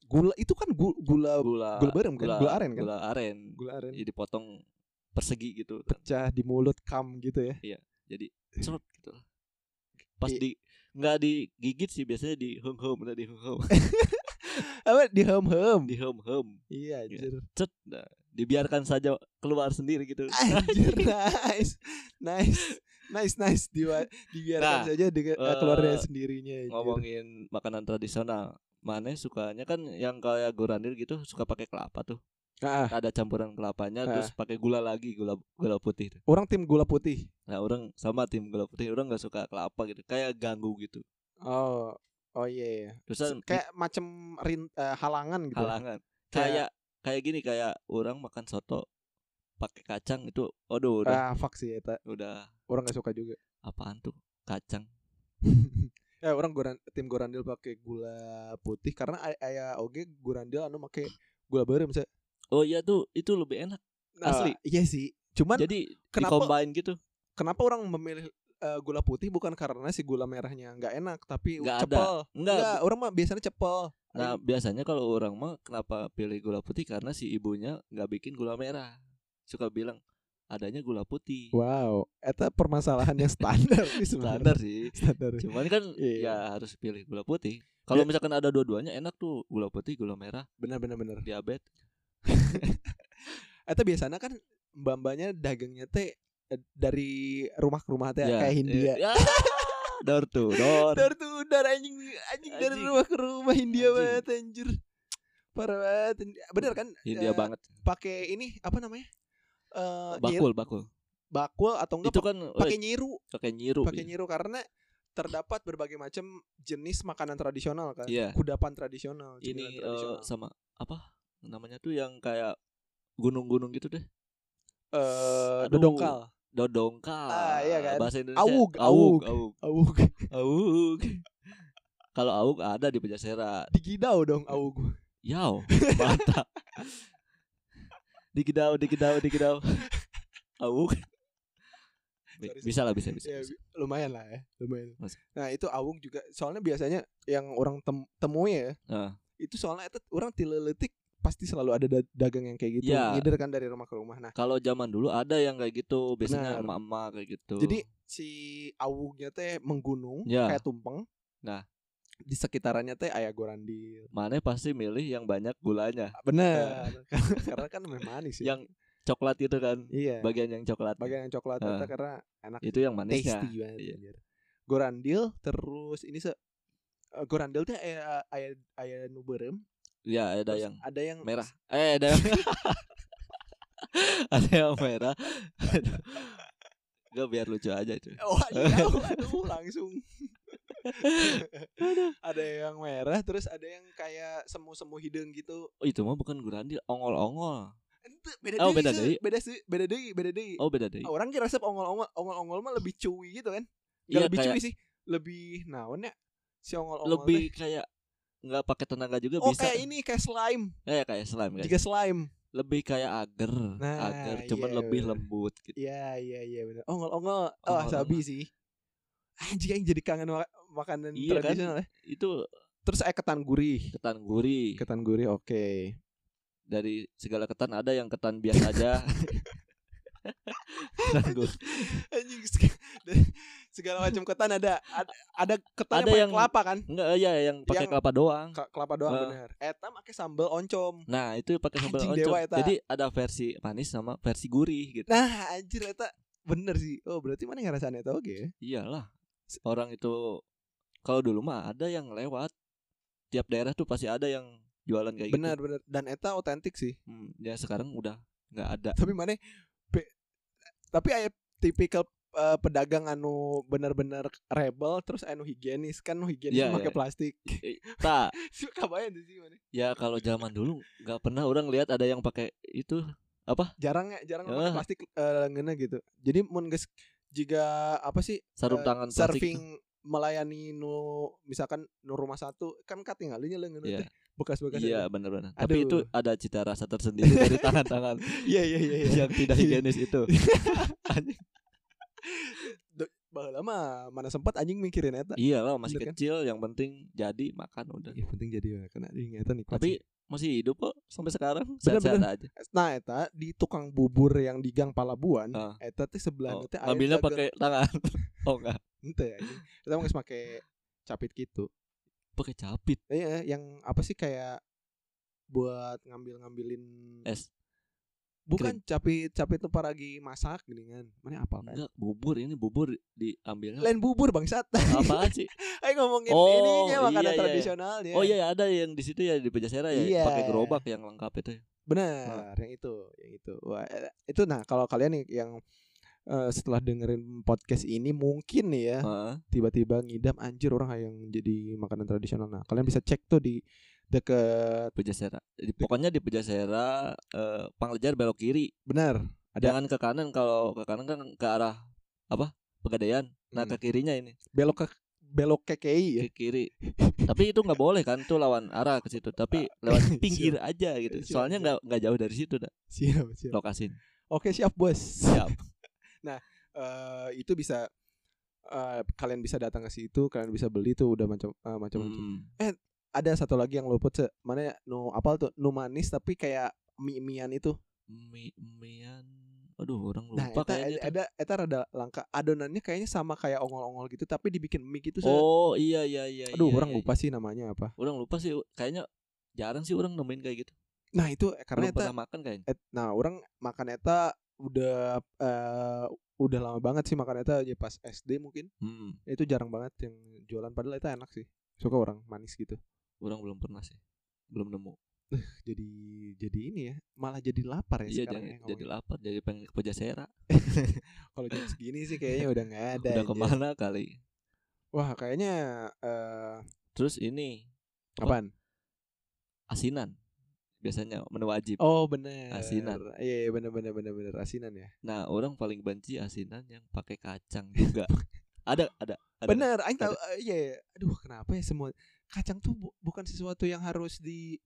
B: gula itu kan gu- gula gula
A: gula
B: gula bareng kan? Gula aren kan?
A: gula aren
B: gula aren
A: jadi potong persegi gitu kan.
B: pecah di mulut kam gitu ya
A: jadi serut gitu lah. pas
B: I-
A: di nggak digigit sih biasanya di hum hum di hum hum (laughs)
B: apa di hem hem
A: di hum hum
B: iya
A: (laughs)
B: anjir
A: cet nah, dibiarkan saja keluar sendiri gitu
B: anjir nice nice nice nice Diwa- dibiarkan
A: Nah,
B: saja dengan
A: eh,
B: keluarnya sendirinya anjir.
A: ngomongin makanan tradisional mana sukanya kan yang kayak gorandir gitu suka pakai kelapa tuh
B: Ah, ah.
A: ada campuran kelapanya
B: Ah.
A: terus pakai gula lagi gula gula putih tuh.
B: orang tim gula putih
A: nah orang sama tim gula putih orang nggak suka kelapa gitu kayak ganggu gitu
B: oh oh iya iya.
A: terus kan
B: kayak macam rin, eh, halangan gitu ya.
A: halangan
B: Kayak-
A: kayak kayak gini kayak orang makan soto pakai kacang itu aduh udah
B: ah fuck sih eta.
A: udah
B: orang gak suka juga
A: apaan tuh kacang
B: (laughs) eh orang goran, tim gorandil pakai gula putih karena ay- aya oge gorandil anu make gula ya, bareng bisa
A: oh iya tuh itu lebih enak Asli.
B: iya sih cuman
A: Nah, jadi
B: kenapa-
A: dikombain gitu
B: kenapa orang memilih eh, gula putih bukan karena si gula merahnya nggak enak tapi
A: Nggak ada.
B: cepel
A: enggak
B: Nggak, orang mah biasanya cepel
A: Nah biasanya kalau orang mah kenapa pilih gula putih karena si ibunya nggak bikin gula merah. Suka bilang adanya gula putih.
B: Wow, eta permasalahan
A: (laughs)
B: yang standar sih sebenarnya.
A: Standar sih.
B: Standar.
A: Cuman kan
B: (laughs) Iya.
A: ya harus pilih gula putih. Kalau misalkan ada dua-duanya enak tuh gula putih, gula merah,
B: Benar benar benar.
A: diabetes.
B: Eta biasanya kan mbak-mbaknya dagangnya teh eh, dari rumah ke rumah teh kayak Hindia.
A: Ya. (laughs) Door to door.
B: Dar tuh dar anjing anjing dari
A: Anjing.
B: rumah ke rumah India
A: Anjing.
B: banget anjir. Parah banget. Bener kan?
A: Hindia
B: Eh,
A: banget.
B: Pakai ini apa namanya? Eh, nyir-
A: Bakul, bakul.
B: bakul atau enggak
A: Itu kan
B: pakai
A: eh,
B: nyiru,
A: pakai nyiru.
B: pakai
A: iya.
B: nyiru karena terdapat berbagai macam jenis makanan tradisional kan.
A: Iya.
B: Kudapan tradisional, cemilan
A: Ini eh,
B: tradisional.
A: sama apa namanya tuh yang kayak gunung-gunung gitu deh.
B: Eh,
A: Aduh.
B: dodongkal.
A: Dodongkal.
B: Ah, iya kan?
A: Bahasa Indonesia.
B: Awug,
A: awug,
B: awug.
A: awug.
B: Awuk.
A: Awuk. (laughs) Kalau awuk ada di Pejasera.
B: (laughs) Digidau dong
A: Iya.
B: awuk. (laughs)
A: Yao, mantap. digedau, digedau, (laughs) digedau. Awuk. Bi-
B: Sorry,
A: Bisa lah,
B: (laughs)
A: bisa, bisa.
B: Ya,
A: bisa.
B: bi- lumayan lah ya, lumayan.
A: Masuk.
B: Nah, itu awuk juga soalnya biasanya yang orang tem- temui ya.
A: Heeh.
B: Itu soalnya itu orang tileletik pasti selalu ada da- dagang yang kayak gitu,
A: Ya.
B: ngider kan dari rumah ke rumah. Nah,
A: Kalau zaman dulu ada yang kayak gitu, biasanya
B: Benar.
A: emak-emak kayak gitu.
B: jadi si awuknya teh menggunung
A: Ya.
B: kayak tumpeng.
A: Nah.
B: di sekitarannya teh ayah gorandil.
A: mana pasti milih yang banyak gulanya,
B: Benar. karena kan memang manis ya.
A: yang coklat itu kan,
B: iya.
A: bagian yang coklat.
B: Bagian yang coklat
A: Eh.
B: itu karena enak
A: Itu yang manisnya.
B: tasty banget
A: Iya.
B: anjir. Gorandil terus ini se eh, Gorandil teh aya aya aya nu beureum,
A: Ya, ada
B: terus
A: yang
B: ada yang
A: merah. Eh, ada yang (laughs) ada yang merah. Gak biar lucu aja itu.
B: (laughs) Oh,
A: (laughs)
B: aduh, aduh, langsung. (laughs) ada yang merah, terus ada yang kayak semu-semu hidung gitu.
A: Oh, itu mah bukan gurandil, ongol-ongol.
B: Ente, beda
A: Oh,
B: deui,
A: beda deui.
B: Se. beda deui, beda deui, beda deui.
A: Oh, beda deh.
B: Orang kira resep ongol-ongol, ongol-ongol mah lebih cuwi gitu kan. Gak
A: Iya,
B: lebih
A: kayak
B: cuwi sih, lebih naon ya? Si ongol-ongol
A: lebih
B: teh.
A: kayak nggak pakai tenaga juga
B: Oh,
A: bisa.
B: kayak ini kayak slime.
A: Eh, kayak slime kayak.
B: Jika slime.
A: Lebih kayak agar,
B: Nah,
A: agar cuman
B: iya,
A: lebih
B: bener.
A: lembut gitu.
B: Iya, iya, iya benar. Ongol-ongol, oh,
A: Ongol-ongol.
B: wasabi sih. Anjing aing jadi kangen mak- makanan
A: Iya kan?
B: tradisional ya.
A: Itu
B: Terus aya ketan gurih.
A: ketan gurih.
B: Ketan gurih oke.
A: Dari segala ketan ada yang ketan biasa
B: (laughs)
A: aja. ketan gurih.
B: Anjing seg- (laughs) da- segala macam ketan ada ada, ada ketan
A: Ada
B: yang, Ah. pakai
A: yang-
B: kelapa kan?
A: Enggak, ya yang pakai
B: Yang-
A: kelapa doang.
B: Ke- kelapa doang
A: Eh.
B: bener. Eta pakai sambal oncom.
A: Nah, itu pakai sambal
B: Anjing
A: oncom.
B: dewa eta.
A: Jadi ada versi manis sama versi gurih gitu.
B: Nah, anjir eta bener sih. Oh, berarti mana ngerasain eta oke. ya?
A: Iyalah. Orang itu kalau dulu mah ada yang lewat tiap daerah tuh pasti ada yang jualan kayak gitu.
B: Bener bener dan eta otentik sih.
A: Hmm, ya sekarang udah nggak ada.
B: Tapi mana pe- tapi aya tipikal eh, pedagang anu bener-bener rebel terus anu higienis kan nu higienis
A: Iya,
B: pakai
A: iya.
B: plastik (laughs)
A: Tak,
B: suka banget sih mana
A: ya kalau zaman dulu nggak pernah orang lihat ada yang pakai itu.
B: jarang ya jarang
A: Ah.
B: pakai plastik eh, ngena gitu jadi mun geus jika apa sih
A: Sarung
B: eh,
A: tangan plastik
B: serving melayani nu misalkan nu rumah satu kan katinggalinya leungeun
A: Iya.
B: teh bekas-bekas
A: Iya
B: itu.
A: benar-benar. Tapi itu
B: Aduh.
A: ada cita rasa tersendiri dari
B: (laughs)
A: tangan-tangan
B: iya iya iya
A: (laughs)
B: iya
A: yang tidak higienis
B: (laughs)
A: itu. Anjing.
B: baheula mah mana sempat anjing mikirin eta
A: Iyalah Iya masih
B: Bener kan? Iya,
A: kecil, yang penting jadi makan udah.
B: yang penting jadi kena anjing eta nih
A: Iya. Tapi masih hidup kok sampai sekarang sehat-sehat aja.
B: nah eta di tukang bubur yang di Gang Palabuan
A: Ah.
B: eta teh sebelah
A: Oh,
B: teh aya
A: ngambilnya
B: dagang.
A: pakai tangan. (laughs) Oh enggak,
B: Henteu anjing eta mah geus make capit gitu
A: pakai capit
B: iya yang apa sih kayak buat ngambil-ngambilin
A: es.
B: Bukan capit capit tuh paragi masak geningan. Mana apal kan?
A: Enggak, bubur ini bubur diambilnya
B: Lain bubur bangsat. (laughs)
A: apaan sih?
B: Ayo ngomongin
A: nah. Oh,
B: ininya
A: iya,
B: makanan
A: iya, iya.
B: tradisional ya.
A: Oh iya ya, ada yang di situ ya di Pejasera ya
B: Iya.
A: pakai gerobak yang lengkap itu. ya.
B: Benar, yang itu, yang itu. Wah, eh, itu nah kalau kalian nih yang eh, setelah dengerin podcast ini mungkin nih ya
A: Heeh.
B: tiba-tiba ngidam anjir orang yang jadi makanan tradisional. Nah, kalian bisa cek tuh di deket
A: Pejasera. Di- pokoknya di Pejasera eh, Panglejar belok kiri.
B: benar. Ada-
A: Jangan ke kanan kalau ke kanan kan ke arah apa? Pegadaian. Nah,
B: Hmm.
A: ke kirinya ini,
B: Belok ke belok KKI ya.
A: ke
B: (laughs)
A: kiri. Tapi itu nggak boleh kan tuh lawan arah ke situ, tapi
B: (laughs)
A: lewat pinggir aja gitu.
B: Ah, Siap,
A: Soalnya
B: siap.
A: nggak nggak jauh dari situ dah
B: Siap, siap.
A: lokasi.
B: Oke, siap, Bos. (laughs)
A: Siap.
B: eh itu bisa eh, kalian bisa datang ke situ, kalian bisa beli tuh udah macam eh, macam-macam.
A: Hmm.
B: ada satu lagi yang luput se mana ya? nu apal tuh nu manis tapi kayak mie mian itu
A: mie mian aduh orang
B: nah
A: lupa
B: eta
A: kayaknya tuh.
B: ada eta rada langka adonannya kayaknya sama kayak ongol-ongol gitu tapi dibikin mie gitu Se.
A: oh iya iya iya
B: aduh
A: iya,
B: orang
A: iya,
B: lupa sih namanya apa
A: iya. orang lupa sih kayaknya jarang sih orang nemuin kayak gitu
B: nah itu eh, karena
A: karena
B: eta
A: pernah makan kayaknya
B: et- nah orang makan eta udah eh, udah lama banget sih makan eta aja pas SD mungkin Ya
A: hmm,
B: itu jarang banget yang jualan padahal eta enak sih suka orang manis gitu
A: orang belum pernah sih belum nemu
B: jadi jadi ini ya malah jadi lapar ya
A: iya
B: sekarang
A: jadi,
B: ya
A: jadi lapar jadi pengen ke Pujasera
B: ngomongin. kalau
A: (laughs)
B: jam segini sih kayaknya udah nggak ada
A: udah
B: anjir.
A: kemana kali
B: wah kayaknya eh
A: terus ini
B: apaan
A: asinan biasanya menu wajib
B: oh bener
A: Asinan.
B: iya iya, bener bener bener bener asinan ya
A: nah orang paling benci asinan yang pakai kacang
B: (laughs)
A: juga ada ada ada
B: Bener, aing tahu eh, iya, iya. Aduh, kenapa ya semua kacang tuh bu- bukan sesuatu yang harus di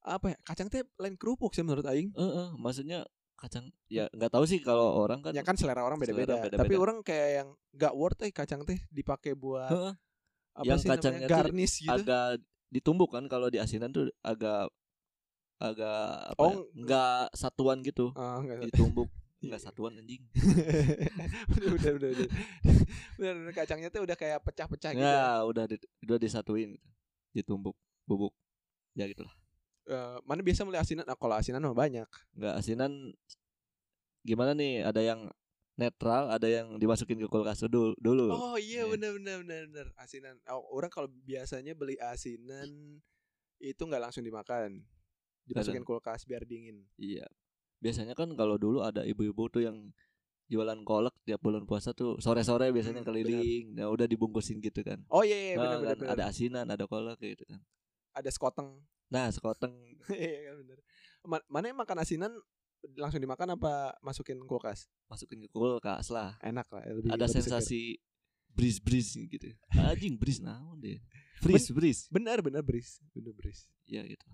B: apa ya? Kacang teh lain kerupuk sih menurut aing.
A: Eh, eh, maksudnya kacang
B: Hmm.
A: ya nggak tahu sih kalau orang kan
B: Ya kan selera orang
A: Selera
B: beda-beda.
A: beda-beda.
B: Tapi orang kayak yang nggak worth eh kacang teh dipakai buat
A: Heeh.
B: apa
A: Yang
B: sih namanya,
A: kacangnya tuh
B: garnish gitu.
A: agak ditumbuk kan kalau di asinan tuh agak agak apa
B: Oh,
A: ya, nggak satuan gitu
B: Ah, nggak-
A: ditumbuk nggak satuan anjing
B: udah, (laughs) udah, udah, udah. (laughs) Bener, bener, kacangnya tuh udah kayak pecah-pecah gitu. ya.
A: ya udah di- udah disatuin gitu. ditumbuk bubuk ya gitulah
B: Eh, mana biasa mulai asinan? Nah, kalau asinan mah banyak.
A: nggak asinan gimana nih ada yang netral ada yang dimasukin ke kulkas dulu dulu
B: Oh
A: Iya.
B: iya benar benar benar benar asinan. Oh, orang kalau biasanya beli asinan itu nggak langsung dimakan. Dimasukin kulkas biar dingin.
A: Iya. Biasanya kan kalau dulu ada ibu-ibu tuh yang jualan kolak tiap bulan puasa tuh sore-sore biasanya
B: Hmm,
A: keliling. Nah, udah dibungkusin gitu kan.
B: Oh iya, iya
A: Nah,
B: benar benar
A: kan,
B: benar.
A: ada asinan, ada kolak kayak gitu kan.
B: Ada sekoteng.
A: Nah, sekoteng
B: Iya benar. Ma- mana yang makan asinan langsung dimakan apa masukin kulkas?
A: masukin ke kulkas lah.
B: Enak lah, lebih
A: ada
B: lebih seger.
A: sensasi breeze-breeze
B: (laughs)
A: gitu. Anjing breeze naon deh. Freeze, breeze.
B: Benar benar beris, benar beris.
A: Iya gitu.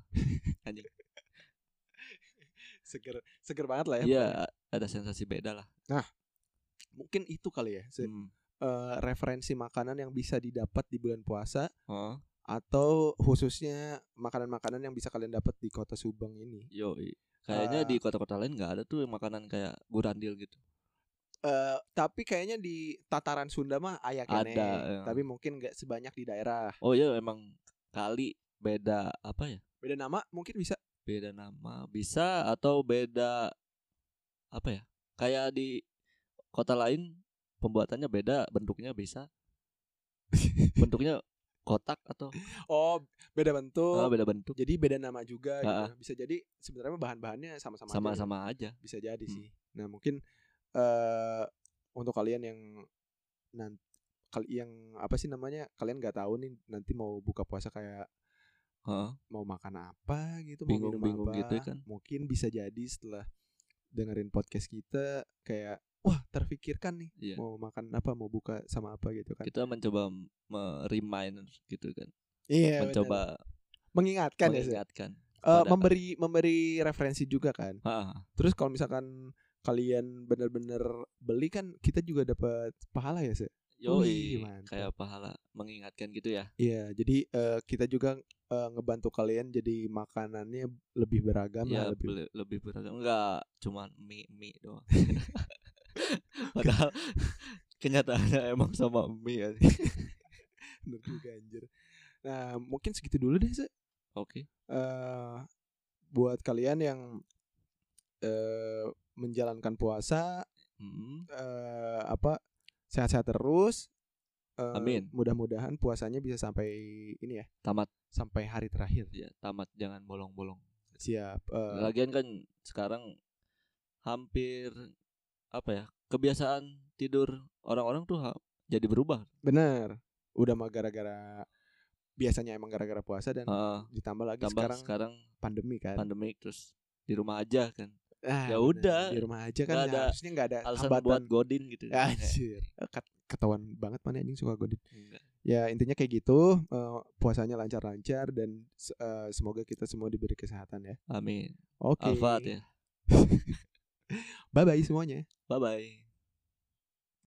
A: Anjing.
B: Seger seger banget lah ya.
A: Iya, ada sensasi beda lah.
B: Mungkin itu kali ya. se-
A: Hmm.
B: eh, referensi makanan yang bisa didapat di bulan puasa
A: Oh,
B: atau khususnya makanan-makanan yang bisa kalian dapat di kota Subang ini.
A: yoi. Kayaknya
B: Ah.
A: di kota-kota lain nggak ada tuh makanan kayak gurandil gitu.
B: Eh, tapi kayaknya di tataran Sunda mah ayak
A: Ada,
B: kene.
A: ya.
B: Tapi mungkin nggak sebanyak di daerah.
A: Oh iya emang kali beda apa ya?
B: Beda nama mungkin bisa.
A: beda nama bisa atau beda apa ya kayak di kota lain pembuatannya beda bentuknya
B: (laughs)
A: bisa bentuknya kotak atau
B: Oh, beda
A: ah,
B: bentuk.
A: beda bentuk
B: Jadi beda nama juga gitu.
A: Ah,
B: Bisa jadi sebenarnya bahan-bahannya sama-sama aja. ya? gitu.
A: sama-sama aja
B: Bisa jadi
A: Hmm.
B: sih. Nah, mungkin eh untuk kalian yang nanti kali yang apa sih namanya? Kalian nggak tahu nih nanti mau buka puasa kayak
A: Heeh.
B: mau makan apa gitu, mau minum
A: Bingung-bingung
B: apa.
A: gitu kan.
B: Mungkin bisa jadi setelah dengerin podcast kita kayak wah terfikirkan nih
A: Iya.
B: mau makan apa, mau buka sama apa gitu kan.
A: kita mencoba meremind gitu kan
B: Iya, benar.
A: mencoba
B: mengingatkan ya, Zed.
A: mengingatkan
B: Eh,
A: kepada-
B: memberi memberi referensi juga kan.
A: Ah,
B: Terus kalau misalkan kalian bener-bener beli kan kita juga dapat pahala ya, Zed.
A: yoi
B: Wih, mantap.
A: kayak pahala mengingatkan gitu ya
B: Iya, jadi eh, kita juga eh, ngebantu kalian jadi makanannya lebih beragam
A: ya
B: lah, lebih
A: lebih, lebih beragam enggak cuman mie mie
B: (laughs)
A: doang padahal (laughs) kenyataannya emang sama mie kan. aja.
B: bener juga anjir. Nah, mungkin segitu dulu deh, Zed.
A: oke
B: eh buat kalian yang eh menjalankan puasa
A: Mm,
B: eh apa sehat-sehat terus Eh,
A: Amin.
B: mudah-mudahan puasanya bisa sampai ini ya
A: tamat
B: sampai hari terakhir
A: ya tamat jangan bolong-bolong
B: siap eh,
A: lagian kan sekarang hampir apa ya kebiasaan tidur orang-orang tuh ha- jadi berubah
B: bener udah mah gara-gara biasanya emang gara-gara puasa dan
A: Heeh,
B: ditambah lagi
A: Eh, tambah sekarang,
B: sekarang, pandemi kan
A: pandemik terus di rumah aja kan
B: Ah,
A: ya
B: bener.
A: udah.
B: di rumah aja kan
A: Nggak ada
B: harusnya nggak ada
A: alasan
B: hambatan
A: buat godin gitu
B: Ya, anjir Eh, ket- ketahuan banget mana anjing suka godin
A: Enggak.
B: ya intinya kayak gitu eh, puasanya lancar-lancar dan se- eh, semoga kita semua diberi kesehatan ya
A: amin
B: oke
A: Alfat ya
B: bye bye semuanya
A: bye bye